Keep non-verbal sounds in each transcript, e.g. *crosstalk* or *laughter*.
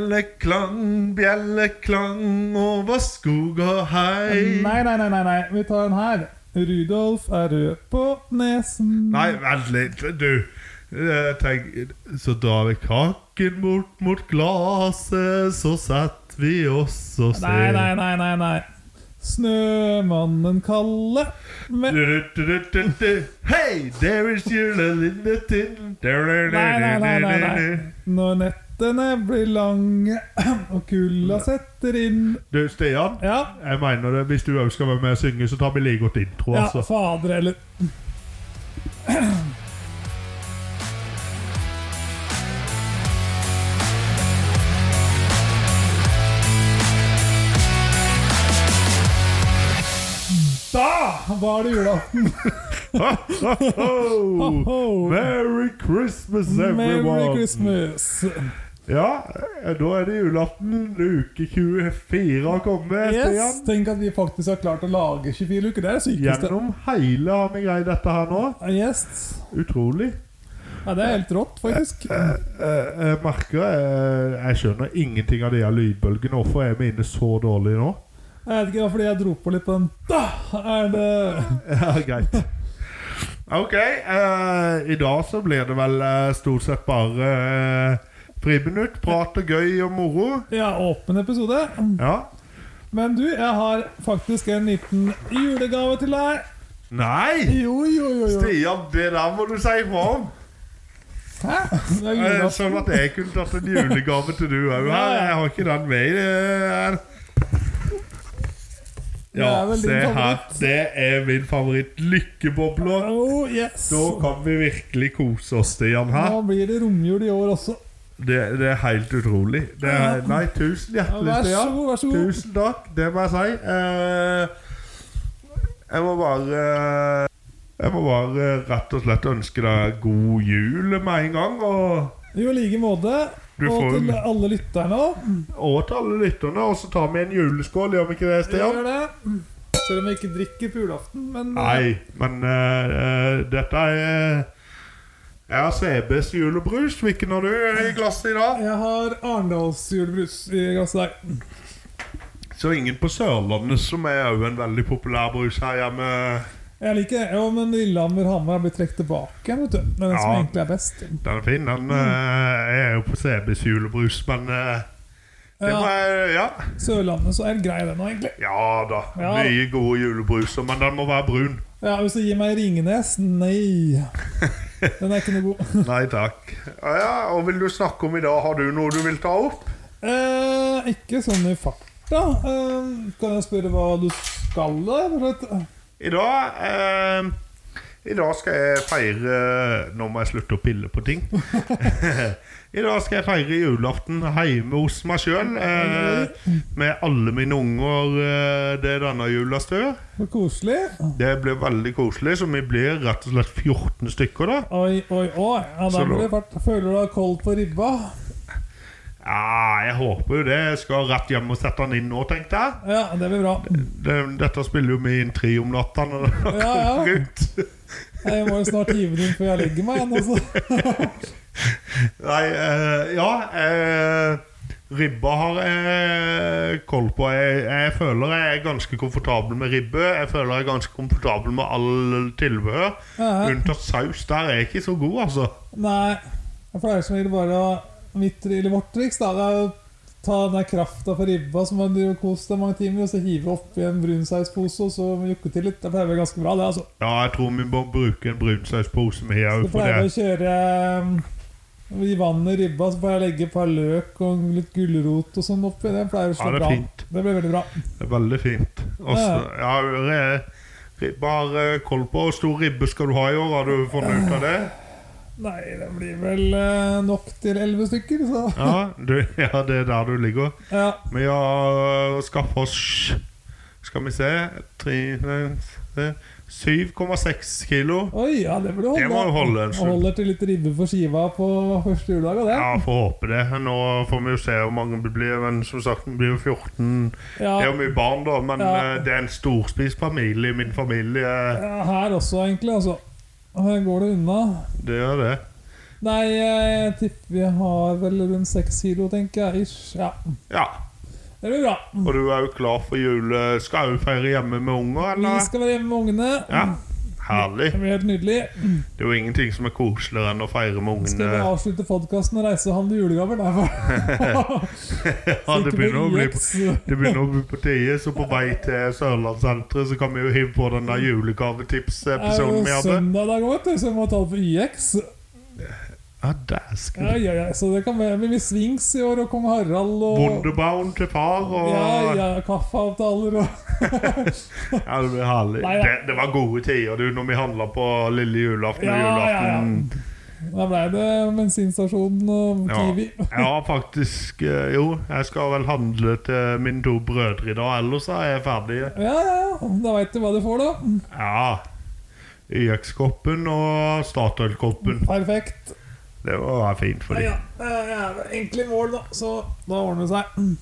Bjelleklang, bjelleklang over skog og hei. Nei, nei, nei, nei, nei. Vi tar den her. Rudolf er rød på nesen. Nei, vent litt, du. Jeg tenker, så drar vi kaken bort mot glaset, så setter vi oss og ser. Nei, nei, nei, nei, nei. Snømannen Kalle med Nei, Du-du-du-du-du. Hey, there is your little tin. nei, nei, nei, nei. Når nettene blir lange *clears throat* og kulda setter inn Du, Stian. Ja, Jeg mener det, Hvis du òg skal være med og synge, så tar vi like godt intro. ja altså. *laughs* fader eller Da var det julaften! Ho, ho. Merry Christmas, everyone! Merry Christmas! Ja, eh, da er det julaften. Uke 24 har kommet. Yes, Stian. Tenk at vi faktisk har klart å lage 24 uker. Det er det sykeste. Gjennom hele har vi greid dette her nå. Yes. Utrolig. Eh, Ja, det er helt rått, faktisk. Jeg, jeg merker jeg, eh, jeg skjønner ingenting av de her lydbølgene. Hvorfor er vi inne så dårlig nå? Jeg vet ikke, det var fordi jeg dro på litt på den Da er det *laughs* Ja, greit. Ok, eh, i dag så blir det vel eh, stort sett bare eh, friminutt, prat og gøy og moro. Ja, åpen episode. Ja. Men du, jeg har faktisk en liten julegave til deg. Nei! Jo, jo, jo. jo. Stian, det der må du si ifra om. Hæ? Det er Eh, julaften. Sånn at jeg kunne tatt en julegave til du òg. Ja, ja. Jeg har ikke den med eh, her. Det Ja, er vel din se her. favoritt. Det er min favoritt. Lykkebobler. Oh, yes. Da kan vi virkelig kose oss, Stian. Her. Nå blir det romjul i år også. Det, det er helt utrolig. Det er, nei, tusen hjertelig, Vær så Stian. god, vær så god. Tusen takk. Det må jeg si. Eh, jeg må bare eh, Jeg må bare rett og slett ønske deg god jul med en gang. Og, Jo, i like måte. Du Og får til den. alle lytterne òg. og til alle lytterne. Og så tar vi en juleskål, gjør vi ikke det, Stian? Gjør det. Selv om jeg ikke drikker på julaften, men Nei, men eh, eh, dette er Jeg har CBs julebrus. Hvilken har du i glasset i dag? Jeg har Arendals julebrus i glasset der. Så ingen på Sørlandet, som er òg en veldig populær brus her hjemme. Jeg liker det. Jo, men Lillehammer-Hamar har blitt trukket tilbake igjen, vet du. Det er den som Ja. egentlig er best. Den er fin. Den eh, er jo på CBs julebrus, men eh, det må Ja, jeg Ja, Sørlandet så er det grei, den òg, egentlig. ja da. Ja. Mye gode julebruser, men den må være brun. Ja, Hvis du gir meg Ringnes Nei. *laughs* Den er ikke noe god. *laughs* Nei takk. Ja, ja, og vil du snakke om i dag? Har du noe du vil ta opp? Eh, ikke sånn i farta. Eh, kan jeg spørre hva du skal, da? rett og slett? I dag eh, I dag skal jeg feire eh, Nå må jeg slutte å pille på ting. *laughs* I dag skal jeg feire julaften hjemme hos meg sjøl. Eh, med alle mine unger. Eh, det er denne jula stø. Så koselig. Det blir veldig koselig, så vi blir rett og slett 14 stykker, da. Oi, oi, oi. Ja, da Så blir da- det fart. Føler du deg kold på ribba? Ja, jeg håper jo det. Jeg skal rett hjem og sette den inn nå, tenkte jeg. Ja, det blir bra. Det- Dette spiller jo vi inn tre om natta når den har Ja, ja. *laughs* kommet ut. Jeg må jo snart hive den inn før jeg legger meg igjen. Altså. Nei, eh, ja eh, Ribba har jeg koll på. Jeg, jeg føler jeg er ganske komfortabel med ribbe. Jeg føler jeg er ganske komfortabel med all tilbehør. Ja. Unntatt saus. Der er jeg ikke så god, altså. Nei, jeg pleier som regel bare å Mitt, eller vårt triks da, det er å ta den der krafta fra ribba som man driver og koser deg mange timer, og så hive oppi en brunsauspose og så jukke til litt. Det pleier å være ganske bra, det. altså. Ja, jeg tror vi må bruke en brunsauspose med òg. Så pleier jeg å kjøre eh, i vannet i ribba, så pleier jeg å legge et par løk og litt gulrot og sånn oppi. Det pleier å Ja, slå det er bra. fint. Det blir veldig bra. Det er veldig fint. Også, ja, re- ribba har jeg koll på. Hvor stor ribbe skal du ha i år? Har du funnet ut av det? Nei, det blir vel eh, nok til elleve stykker, så Ja, du, ja, det er der du ligger. ja. Vi har øh, skaffet oss Skal vi se tre, eh, nei, se, 7,6 kilo. Oi, ja, det burde holde. Det må jo holde en Og stund. Holder til litt ribbe for skiva på første juledag. og det. Ja, får håpe det. Nå får vi jo se hvor mange det blir. Men som sagt, vi blir jo 14. Ja, Det er jo mye barn, da, men Ja. øh, det er en storspist familie. Min familie. ja, her også, egentlig. altså. Her går det unna. Det gjør det. Nei, jeg tipper vi har vel rundt seks kilo, tenker jeg. Ish. Ja. Ja. Det blir bra. Og du er jo klar for jule... Skal du feire hjemme med unger, Vi eller? skal være hjemme med ungene. Ja. Herlig. Det blir helt nydelig. Det er jo ingenting som er koseligere enn å feire med Skal vi ungene. avslutte podkasten og reise og handle julegaver? Nei, hva? *laughs* *laughs* Ja, det begynner å bli på på Det begynner å bli på tide, så på vei til Sørlandssenteret så kan vi jo hive på den der julegavetips-episoden vi hadde. søndag i dag òg, vet du, så jeg må ta det på YX. Ja, dæsken. Ja, ja, ja. Så det kan være det blir Swings i år, og kong Harald og Wonderbound til far og ja, Ja, ja, kaffeavtaler og det blir herlig. Nei, ja. Det, det var gode tider, du, når vi handla på lille julaften og Ja, ja, ja. julaften. Da blei det bensinstasjonen og Ja. Kiwi. Jeg har faktisk eh, Jo, jeg skal vel handle til mine to brødre i dag, ellers er jeg ferdig. Ja, ja, ja. Da veit du hva du får, da. Ja. YX-koppen og Statoil-koppen. Perfekt. Det var fint for Ja, dem. ja. Det er Enkle mål, da. Så da ordner det seg.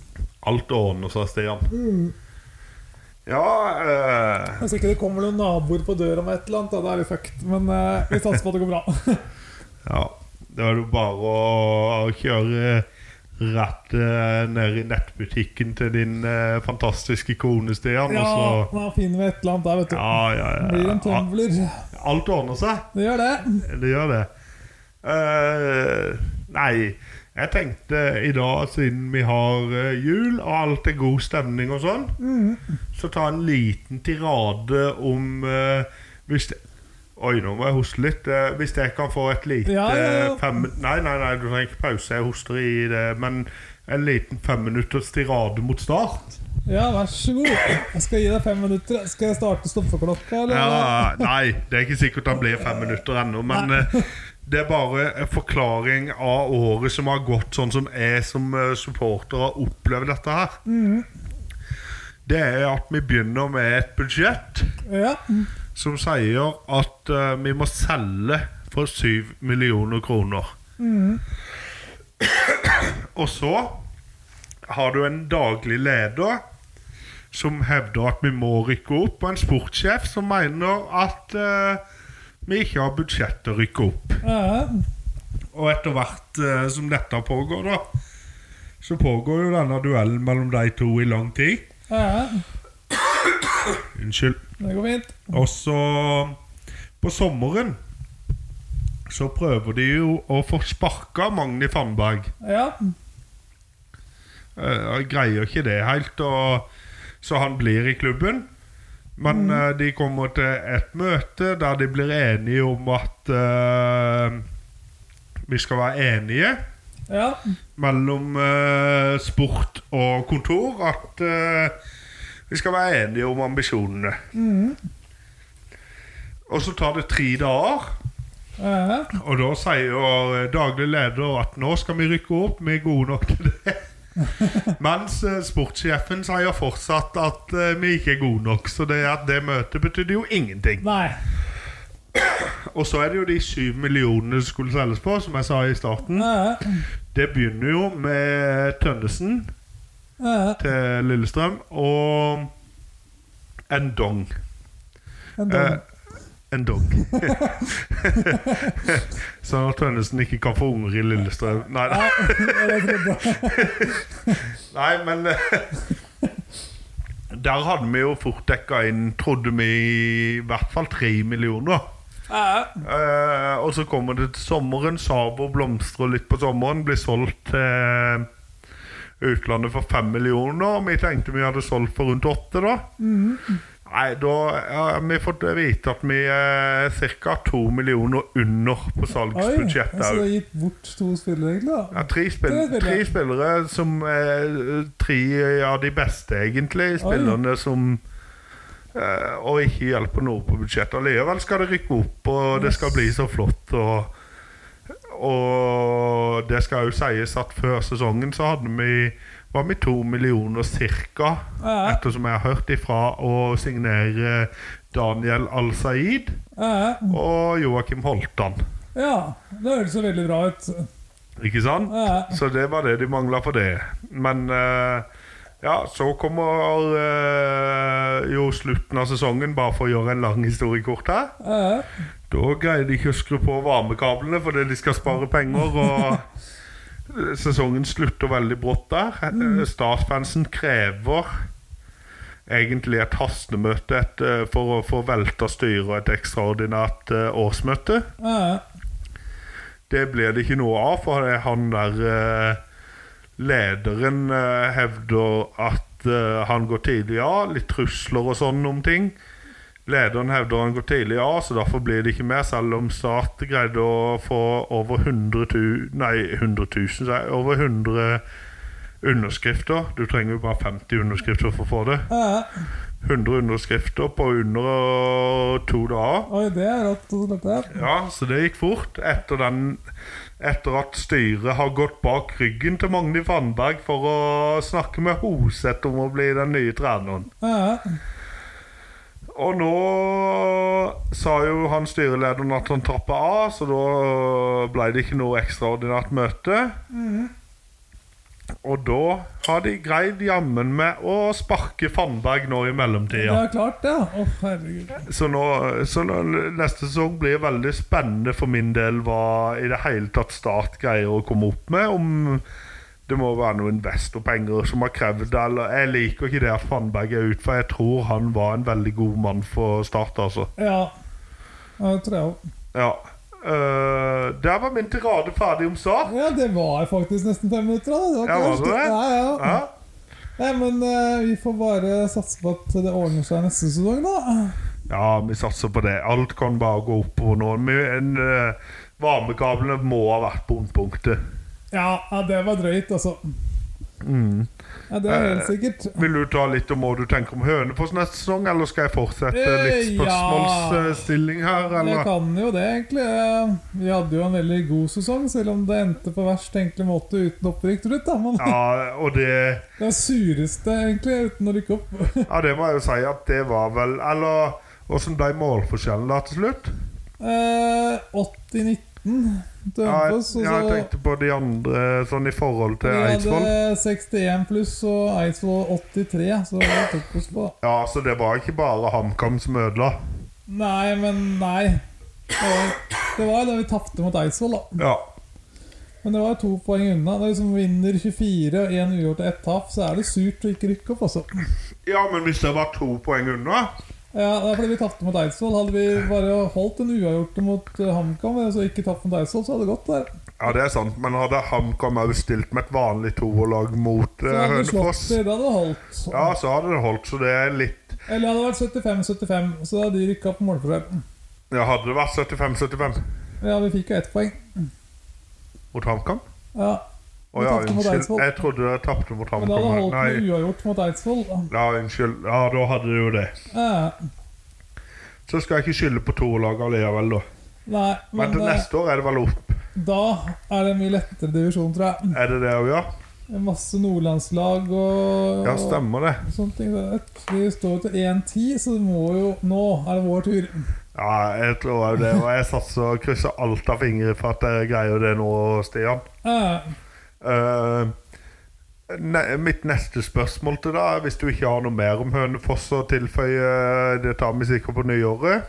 Alt ordner seg, Stian. Mm. Ja eh, Hvis ikke det kommer noen naboer på døra med et eller annet, da, da er vi fucked. Men eh, vi satser på at det *laughs* går bra. Ja, det er jo bare å kjøre rett eh, ned i nettbutikken til din eh, fantastiske kone, Stian, Ja, og så da finner vi et eller annet der, vet du. Ja, ja, Blir en ja. tumbler. ja. Alt ordner seg. Det gjør det. Det gjør det. Eh, nei, jeg tenkte i dag, siden vi har eh, jul og alt er god stemning og sånn, Mm. så ta en liten tirade om eh, hvis det, Oi, nå må jeg hoste litt. Eh, hvis jeg kan få et lite Ja, ja, ja. eh, Fem, nei, nei, nei, du trenger ikke pause. Jeg hoster i det. Men en liten femminutters tirade mot start. Ja, vær så god. Jeg skal gi deg fem minutter. Skal jeg starte stoppeklokka, eller? Ja, nei, det er ikke sikkert han blir fem minutter ennå, men eh, det er bare en forklaring av året som har gått, sånn som jeg som eh, supporter har opplevd dette her. Det er at vi begynner med et budsjett Ja. som sier at eh, vi må selge for 7 millioner kroner. Og så har du en daglig leder som hevder at vi må rykke opp, og en sportssjef som mener at eh, vi ikke har budsjett til å rykke opp. Ja. Og etter hvert eh, som dette pågår, da, så pågår jo denne duellen mellom de to i lang tid. ja. Unnskyld. Det går fint. Og så På sommeren så prøver de jo å få sparka Magni Fannberg. Ja. Eh, Jeg greier ikke det helt, og, så han blir i klubben. Men eh, de kommer til et møte der de blir enige om at eh, vi skal være enige Ja. mellom eh, sport og kontor at eh, vi skal være enige om ambisjonene. Og så tar det tre dager, Ja. og da sier jo eh, daglig leder at nå skal vi rykke opp, vi er gode nok til det. *laughs* Mens eh, sportssjefen sier fortsatt at eh, vi ikke er gode nok. Så det at det møtet betydde jo ingenting. Nei. Og så er det jo de syv millionene som skulle selges på, som jeg sa i starten. Ja. Det begynner jo med Tønnesen. Ja. til Lillestrøm og en dong. En Eh, dom. en dong. *laughs* sånn at Tønnesen ikke kan få unger i Lillestrøm. Nei, Ja, nei, det trodde jeg. *laughs* nei men eh, Der hadde vi jo fort dekka inn, trodde vi, i hvert fall tre millioner. Ja. Eh, og så kommer det til sommeren. Sabo blomstrer litt på sommeren. Blir solgt til utlandet for fem millioner. Vi tenkte vi hadde solgt for rundt åtte, da. Mhm. Nei, da har vi fått vite at vi er ca. to millioner under på Oi, salgsbudsjettet. så du har også. gitt bort to spillere, egentlig? da Ja, tre, spill Det er veldig- tre spillere som er eh, tre av de beste, egentlig. Spillerne som eh, Og ikke hjelper noe på budsjettet. Allikevel skal det rykke opp, og det skal bli så flott. Og, og det skal jo sies at før sesongen så hadde vi var vi to millioner cirka, Ja. ettersom jeg har hørt ifra å signere eh, Daniel Al-Said Ja. og Joakim Holtan. Eh, ja. Det høres jo veldig bra ut. Ikke sant? Ja. Så det var det de mangla for det. Men eh, ja, så kommer eh, jo slutten av sesongen, bare for å gjøre en lang historie kort her. Ja. Da greier de ikke å skru på varmekablene fordi de skal spare penger. Og *laughs* sesongen slutter veldig brått der. Mm. Eh, Stas-fansen krever egentlig et hastemøte et, eh, for å få velta styret og et ekstraordinært eh, årsmøte. Ja, ja. Det blir det ikke noe av, for det er han der eh, lederen eh, hevder at eh, han går tidlig av. Litt trusler og sånn om ting. Lederen hevder han går tidlig av, så derfor blir det ikke mer, selv om Stat greide å få over 100 000 Nei, 100 000, sier jeg. Over 100 underskrifter. Du trenger jo bare 50 underskrifter for å få det. ja, ja. 100 underskrifter på under eh, to dager. Oi, det er rått. og slett det. Ja, så det gikk fort etter, den, etter at styret har gått bak ryggen til Magnhild Fannberg for å snakke med Hoseth om å bli den nye treneren. Ja, ja. Og nå sa jo han styrelederen at han trappa av, så da ble det ikke noe ekstraordinært møte. Og da har de greid jammen med å sparke Fannberg nå i mellomtida. Ja, klart det. Å, herregud. Så, nå, så nå, neste sesong blir veldig spennende for min del hva i det hele tatt Start greier å komme opp med. Om det må være noen investorpenger som har krevd det. Eller, jeg liker ikke det at Fannberg er ute, for jeg tror han var en veldig god mann for Start. altså Ja. ja det tror jeg òg. Ja Eh, Der var min tirade ferdig om Start. Ja, det var faktisk nesten fem minutter. da. Det var Ja, var kanskje- det det? Ja, ja. Ja, Nei, men eh, vi får bare satse på at det ordner seg neste sesong, da. ja vi satser på det. Alt kan bare gå oppover nå. Vi- en, eh, Varmekablene må ha vært bunnpunktet. Ja, ja det var drøyt, altså. Mm. Ja, det Eh. er helt sikkert. Vil du ta litt om hva du tenker om Hønefoss neste sesong, eller skal jeg fortsette litt Eh, ja. spørsmålsstilling her, Jeg eller? kan jo det, egentlig. Eh, Vi hadde jo en veldig god sesong, selv om det endte på verst tenkelig måte uten opprykk til slutt. da. Men Ja, og det *laughs* det sureste, egentlig, uten å rykke opp. *laughs* Ja, det må jeg jo si at det var vel Eller åssen ble målforskjellen da til slutt? Eh, 80-19 til Ja, jeg, Hønefoss. altså- og jeg så- tenkte på de andre sånn i forhold til Vi Eidsvoll. hadde 61 pluss og Eidsvoll 83, så det tok oss på. Ja, så det var ikke bare HamKam som ødela. Nei, men nei. Det var, det var da vi tapte mot Eidsvoll, da. Ja. Men det var to poeng unna. Det er liksom Vinner 24 og én uavgjort og ett tap, så er det surt å ikke rykke opp, altså. ja, men hvis det var to poeng unna Ja, det er fordi vi tapte mot Eidsvoll. Hadde vi bare holdt en uavgjort mot eh, HamKam, altså ikke tapt mot Eidsvoll, så hadde det gått der. Ja, det er sant, men hadde HamKam òg stilt med et vanlig toerlag mot Så eh, hadde vi slått Hønefoss, det, det hadde holdt. ja, så hadde det holdt, så det er litt Eller det hadde vært 75-75, så da hadde de rykka opp med målforskjell. Ja, hadde det vært 75-75 Ja, vi fikk jo ett poeng. mot HamKam? Ja, Å Vi ja, tapte mot unnskyld. Eidsvoll. Jeg trodde dere tapte mot Men det hadde HamKam. holdt med Nei, uavgjort mot Eidsvoll. ja, unnskyld. Ja, da hadde det jo det. Eh, Så skal jeg ikke skylde på toerlaget allikevel, da. nei, Men men til eh, neste år er det vel opp. da er det en mye lettere divisjon, tror jeg. Er det det å gjøre? Masse nordlandslag og, Ja, stemmer det. og sånne ting. Vi står jo til 1-10, så det må jo Nå er det vår tur. Ja, jeg tror også det. Og jeg satser og krysser alt av fingre for at dere greier det nå, Stian. Eh, Eh, ne mitt neste spørsmål til deg er hvis du ikke har noe mer om Hønefoss å tilføye, eh, det tar vi sikkert på nyåret.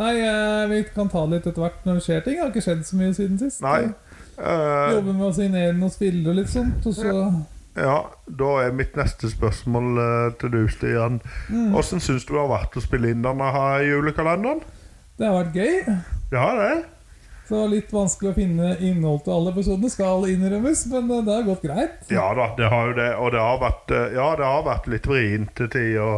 nei, eh, vi kan ta det litt etter hvert når det skjer ting. Det har ikke skjedd så mye siden sist. Nei. Vi Eh, Jobber med å signere noen spillere og litt sånt. Og så Ja, da er mitt neste spørsmål eh, til du, Stian. Hvordan syns du det har vært å spille inn denne her julekalenderen? Det har vært gøy. Ja, det. Så det var litt vanskelig å finne innhold til alle episodene, skal innrømmes, men eh, det har gått greit. Ja da, det har jo det. Og det har vært, eh, ja, det har vært litt vrient til tider å,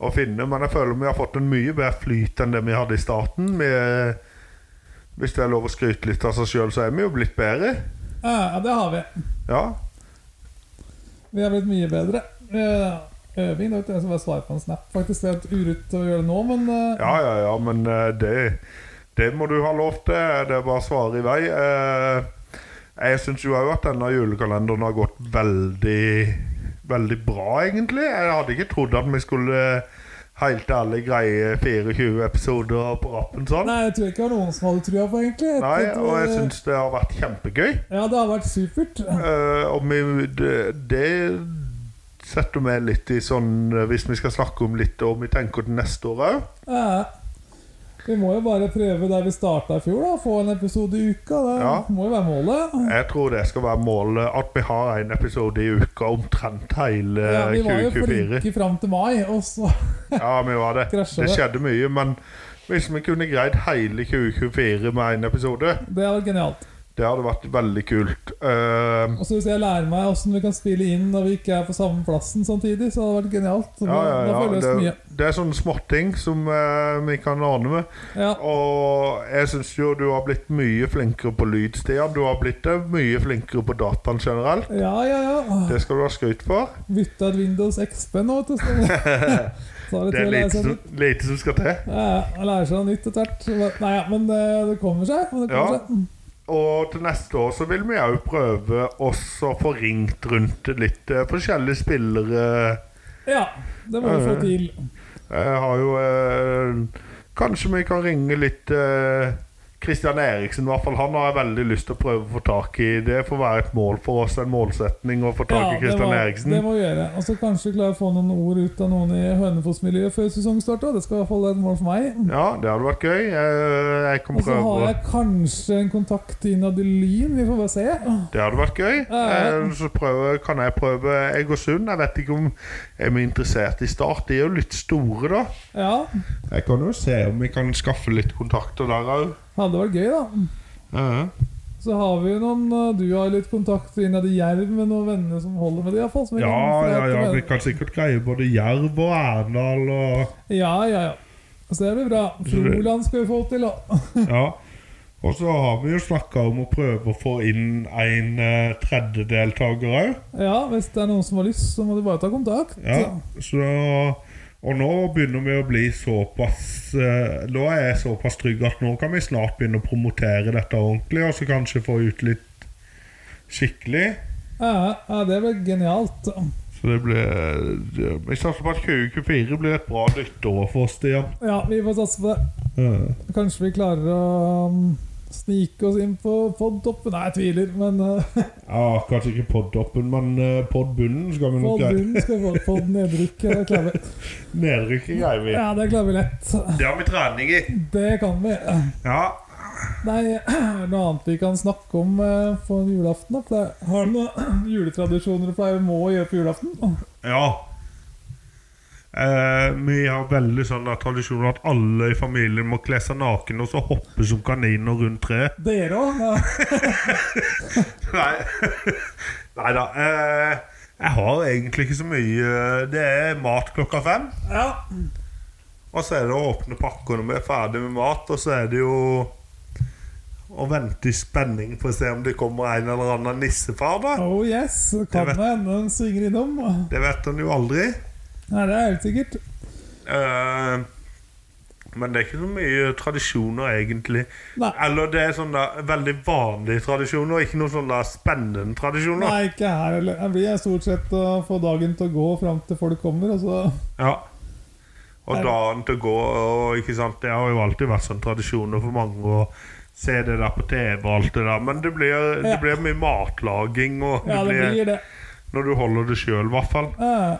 å finne, men jeg føler vi har fått en mye bedre flyt enn det vi hadde i starten. Vi, eh, hvis det er lov å skryte litt av seg sjøl, så er vi jo blitt bedre. Eh, ja, det har vi. Ja. Vi har blitt mye bedre. Eh, Øving, det var jeg som bare svarer på en snap. Faktisk, Det er et urett å gjøre det nå, men eh, Ja, ja, ja, men eh, det, det må du ha lov til. Det er bare å svare i vei. Eh, Jeg syns jo òg at denne julekalenderen har gått veldig, veldig bra, egentlig. Jeg hadde ikke trodd at vi skulle eh, helt ærlig greie 24 episoder på rappen sånn. Nei, jeg tror ikke det var noen som hadde trua på, egentlig. Jeg Nei, tror- og jeg syns det har vært kjempegøy. Ja, det har vært supert. Eh, og vi, det, det setter vi litt i sånn eh, Hvis vi skal snakke om litt og vi tenker til neste år òg. Eh, Vi må jo bare prøve der vi starta i fjor, da. Få en episode i uka. Det Ja. må jo være målet. Jeg tror det skal være målet at vi har en episode i uka omtrent hele Ja, vi var jo 2024. flinke fram til mai, og så *laughs* Ja, vi var det. Krasja Det det. skjedde mye, men hvis vi kunne greid hele 2024 med en episode, Det hadde vært genialt. det hadde vært veldig kult. Eh, Og så hvis jeg lærer meg åssen vi kan spille inn når vi ikke er på samme plassen samtidig, så hadde det vært genialt. Så ja, da- ja, Da får ja. vi løst Det, mye. det er sånne småting som eh, vi kan ordne med. Ja. Og jeg syns jo du har blitt mye flinkere på lyd, Stian. Du har blitt eh, mye flinkere på dataen generelt. ja, ja, ja. Det skal du ha skryt for. Bytta et Windows XP nå, vet du. *laughs* Så så Det er til å lære lite seg som, nytt. lite som skal til. Ja, ja, man lærer seg noe nytt etter hvert. Nei, ja, men det, det kommer seg. Det kommer Ja. seg. Mm. Og til neste år så vil vi òg prøve også å få ringt rundt litt eh, forskjellige spillere. ja, det må vi få til. Jeg har jo eh, Kanskje vi kan ringe litt eh, Christian Eriksen, i hvert fall. Han har jeg veldig lyst til å prøve å få tak i. Det får være et mål for oss, en målsetning å få tak i det, Christian må, Eriksen. det må vi gjøre. Og så kanskje klare å få noen ord ut av noen i Hønefoss-miljøet før sesongstart. også. Det skal i hvert fall være et mål for meg. Ja, det hadde vært gøy. Eh, Jeg kan Og så har prøve. jeg kanskje en kontakt innad i Lyn. Vi får bare se. Det hadde vært gøy. ja. Eh, Så prøver, kan jeg prøve Egersund. Jeg vet ikke om er vi interessert i Start. De er jo litt store, da. Ja, Jeg kan jo se om vi kan skaffe litt kontakter der òg. hadde vært gøy, da. Så har vi jo noen eh, Du har litt kontakter innad i Jerv med noen venner som holder med det, iallfall. Ja, ja, ja. Vi kan sikkert greie både Jerv og Erndal og ja, ja, ja. Så det blir bra. Froland skal vi få til, da. Ja. Og så har vi jo snakka om å prøve å få inn en eh, tredjedeltaker òg. Ja, hvis det er noen som har lyst, så må du bare ta kontakt. Ja, så Og nå begynner vi å bli såpass eh, Nå er jeg såpass trygg at nå kan vi snart begynne å promotere dette ordentlig, og så kanskje få ut litt skikkelig. Ja, ja, det blir genialt. Så det blir det- Vi satser på at 2024 blir et bra nyttår for oss, Stian. Ja, vi får satse på det. Eh, Kanskje vi klarer å um, snike oss inn på podtoppen? Nei, jeg tviler, men uh, *laughs* Ja, kanskje ikke poddoppen, men eh, podbunnen skal vi nok greie. podbunnen skal vi få på nedrykk. Det klarer vi. Nedrykket greier vi. Ja, det klarer vi lett. Det har vi trening i. Det kan vi. Ja. Nei, *clears throat* noe annet vi kan snakke om uh, på julaften? Da? For det- Har du noen *clears throat* juletradisjoner du pleier å må gjøre på julaften? Ja. Eh, vi har veldig sånn der tradisjon at alle i familien må kle seg naken og så hoppe som kaniner rundt treet. *laughs* Dere òg? Nei Nei da. Eh, jeg har egentlig ikke så mye eh, Det er mat klokka fem. Ja. Og så er det å åpne pakker når vi er ferdig med mat, og så er det jo å vente i spenning for å se om det kommer en eller annen nissefar, da. Oh yes. Kan Det vet- det hende den svinger innom. Det vet en jo aldri. Nei, det er helt sikkert. Eh, men det er ikke så mye tradisjoner, egentlig. Nei. Eller det er sånne veldig vanlige tradisjoner, ikke noen sånne spennende tradisjoner. Nei, ikke her heller. Det blir stort sett å få dagen til å gå fram til folk kommer, og så Ja. Og Nei. dagen til å gå og ikke sant, Det har jo alltid vært sånn tradisjoner for mange å se det der på TV og alt det der, men det blir, det Ja. blir mye matlaging og Ja, det blir det. Når du holder det sjøl, i hvert fall. Eh,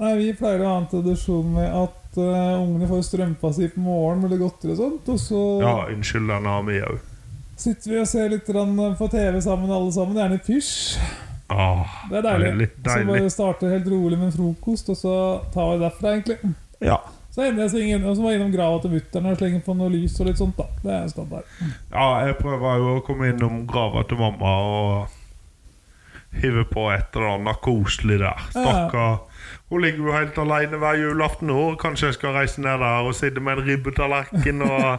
Nei, Vi pleier å ha en tradisjon med at eh, ungene får strømpa si på morgenen med litt godteri og sånt, og så Ja, unnskyld, den har vi òg. sitter vi og ser litt grann på TV sammen, alle sammen. Gjerne pysj. Ah, Det er deilig. Så Deilig. bare starter helt rolig med en frokost, og så tar vi det derfra, egentlig. Ja. Så ender jeg svingen, og så må jeg innom grava til mutter'n og slenge på noe lys og litt sånt, da. Det er standard. ja, jeg prøver jo å komme innom grava til mamma og hive på et eller annet koselig der. Stakkar. Hun ligger jo helt aleine hver julaften nå. Kanskje jeg skal reise ned der og sitte med en ribbetallerken og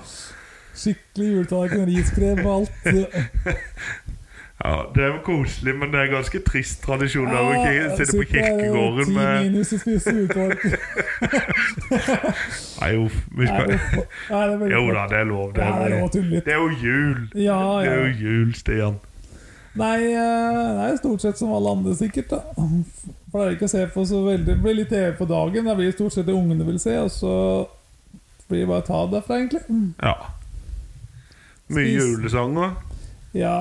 Skikkelig juletallerken, riskrem og alt. *laughs* ja, Det er jo koselig, men det er ganske trist tradisjon å ikke sitte på kirkegården med med minus og spise juletallerken. Nei, uff. Vi Nei, skal... det- nei, det er veldig Jo da, det er lov, det. Ja, det er lov å tulle litt. Det er jo jul. Ja, Det ja. er jo jul, Stian. Nei, eh, det er stort sett som alle andre, sikkert. da Pleier ikke å se på så veldig Det blir litt TV på dagen. Det blir stort sett det ungene vil se, og så blir det bare å ta det derfra, egentlig. Ja. Mye Spis. julesanger. Ja,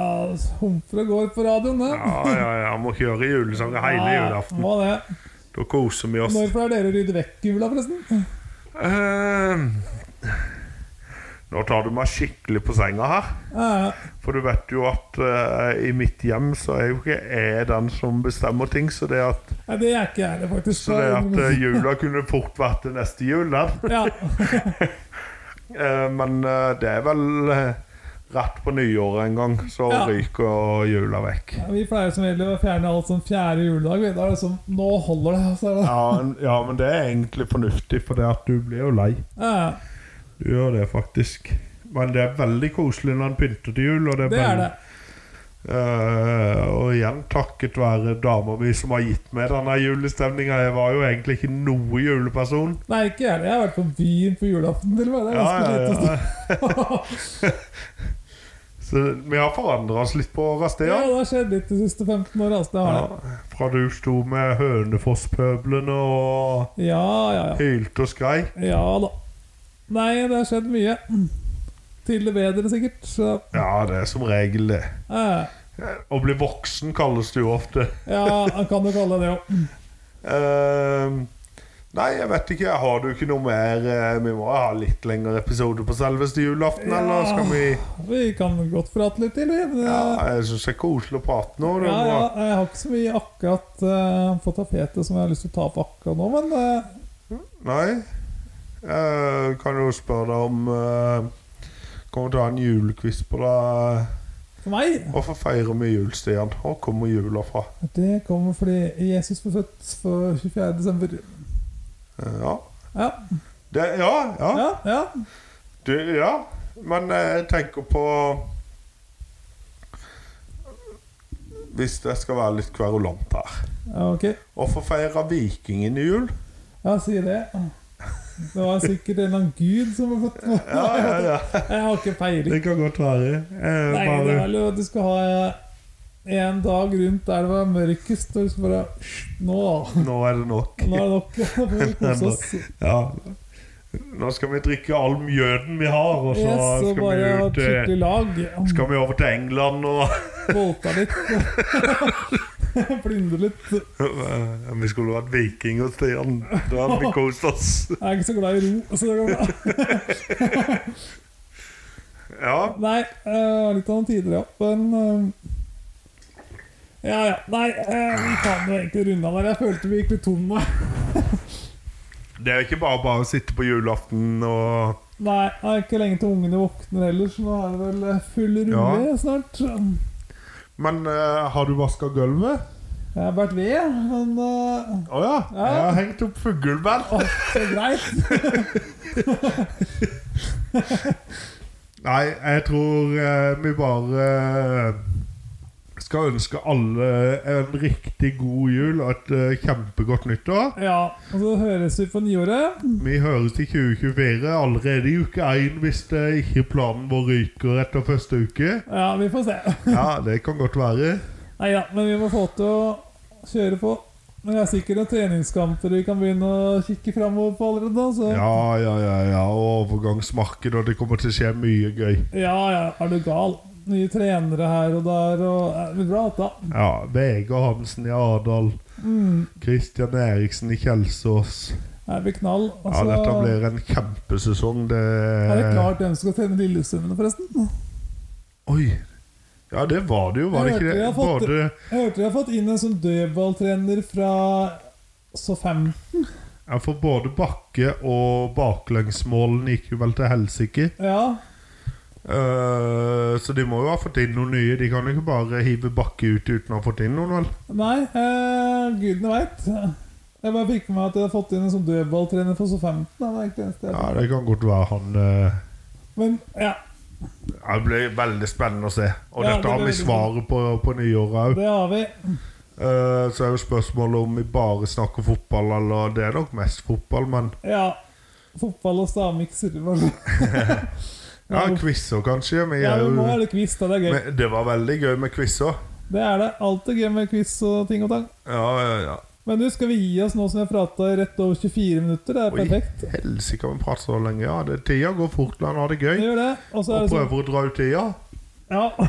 humper og går på radioen, det. Ja, ja, ja. Må kjøre julesanger hele Ja, julaften. Må det. Da koser vi oss. Når pleier dere å rydde vekk jula, forresten? Eh, Ehm. Nå tar du meg skikkelig på senga her. Ja, For du vet jo at eh, i mitt hjem så er jo ikke jeg den som bestemmer ting. Så det at, Nei, det er ikke jeg heller, faktisk. så det at eh, jula kunne fort vært til neste jul, den. Ja. Eh, men eh, det er vel eh, rett på nyåret en gang, så Ja. ryker jula vekk. Ja, Vi pleier som regel å fjerne alt sånn fjerde juledag. vi. Da er det sånn Nå holder det! altså. Så er det. Ja, en- ja, men det er egentlig fornuftig, for det at du blir jo lei. Ja, Du gjør det faktisk. Men det er veldig koselig når en pynter til jul. Og det er, det er det. Eh, og igjen takket være dama mi som har gitt meg denne julestemninga. Jeg var jo egentlig ikke noe juleperson. Nei, ikke jeg heller. Jeg har vært på byen på julaften, til og med. Det er Ja, ganske ja, lite. *laughs* ja. Så vi har forandra oss litt på Ja, Rastia. det har skjedd litt de siste 15 åra. Altså, det har Ja, det. fra du sto med Hønefoss-pøblene og Ja, ja, ja. hylte og skrei. Ja da. Nei, det har skjedd mye. Til det bedre, sikkert. Så, Ja, det er som regel det. eh, Å bli voksen kalles det jo ofte. ja, man kan jo kalle det det òg. Ehm, nei, jeg vet ikke. Har du ikke noe mer eh, Vi må ha litt lengre episode på selveste julaften, eller skal vi Vi kan godt prate litt til, vi. men, Ja, eh, jeg syns det er koselig å prate nå. Det Ja, er ja, bra. jeg har ikke så mye akkurat eh, på tapetet som jeg har lyst til å ta opp akkurat nå, men eh, Nei. Jeg kan jo spørre deg om uh, Kommer til å ha en julequiz på deg. for meg Hvorfor feirer vi jul, Stian? Hvor kommer jula fra? Det kommer fordi Jesus ble født for 24. desember. Eh, ja. Ja, Det, ja, ja. ja, ja. Du, ja. Men eh, jeg tenker på Hvis jeg skal være litt kverulant her ja ok. Hvorfor feirer vikingene jul? Ja, sier det. Det var sikkert en eller annen gud som ble født. Ja, ja, ja. Jeg har ikke *laughs* peiling. Det kan godt være. Eh, Nei, det er bare, vel jo at du skal ha eh, en dag rundt der det var mørkest, og du skal bare «Hysj, Nå, nå er det nok. nå er det nok. Nå får vi kose oss. Ja. Nå skal vi drikke all mjøden vi har, og så Yes, og skal vi bare ha et ut eh, skikkelig lag. Skal vi over til England og *laughs* Voldta litt. *laughs* Plyndre litt. Jeg Eh, Vi skulle vært vikinger, Stian. Da hadde vi kost oss. er ikke så glad i ro, så det går bra. Ja. Nei, eh, litt av den tidligere opp, men eh, Ja, ja. Nei, eh, vi kan jo egentlig runde av der. Jeg følte vi gikk litt tom nå. Det er jo ikke bare bare å sitte på julaften og Nei, det er ikke lenge til ungene våkner heller, så nå er det vel eh, full rulle Ja. snart. Men eh, har du vaska gulvet? Jeg har vært ved, men eh, Å ja. Ja. Jeg har hengt opp fugleband. å, så greit. Nei, jeg tror eh, vi bare eh, skal ønske alle en riktig god jul og et eh, kjempegodt nyttår. Ja, og så høres vi på nyåret. Vi høres i 2024 allerede i uke 1 hvis det ikke planen vår ryker etter første uke. Ja, vi får se. Ja, det kan godt være. Nei da, men vi må få til å kjøre på. Men det er sikkert noen treningskamper vi kan begynne å kikke framover på allerede. da, Så. Ja, ja, ja, ja. og Overgangsmarked, og det kommer til å skje mye gøy. ja, ja, er du gal? Nye trenere her og der og eh, ja, Det blir bra, dette. Ja, Vegard Hansen i Ardal. Mm. Kristian Eriksen i Kjelsås. Det blir knall. Og Ja, så dette blir en kjempesesong. Det er det klart hvem som skal trene Lillestrømmene, forresten. Oi. Ja, det var det jo, var det Jeg ikke hørte det? jeg har fått- Både Jeg hørte de har fått inn en sånn dødballtrener fra så fem. ja, For både bakke- og baklengsmålene gikk jo vel til helsike. Ja, Eh, så de må jo ha fått inn noen nye. De kan jo ikke bare hive bakke ut uten å ha fått inn noen, vel? Nei, eh, gudene veit. Jeg bare fikk med meg at de har fått inn en sånn dødballtrener fra så 15. da, Det er ikke det eneste jeg Ja, det kan godt være han eh, Men ja, ja, Det blir veldig spennende å se. Og Ja, det dette har blir vi veldig svaret på på nyåret òg. det har vi. Eh, Så er jo spørsmålet om vi bare snakker fotball, eller det er nok mest fotball, men Ja. Fotball og stavmikser. *laughs* det var sånn. Ja, quizer kanskje. Vi Ja, er vi må ha jo, litt quiz, da. Det er gøy. men det var veldig gøy med quizer. Det er det. Alltid gøy med quiz og ting og tang. Ja, ja, ja. Men du, skal vi gi oss nå som vi har prata rett over 24 minutter? Det er Oi, perfekt. helsike, vi prater så lenge. Ja, det, tida går fort når en har det Vi gøy. gjør det. Og så er Og det sånn prøver å dra ut tida. Ja. *laughs*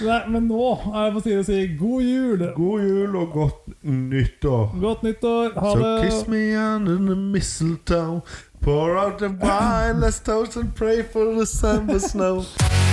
Nei, men nå er det på tide å si god jul. God jul og godt nyttår. Godt nyttår. Ha So det. kiss me under the mistletoe Pour out the wine, let's toast and pray for December snow.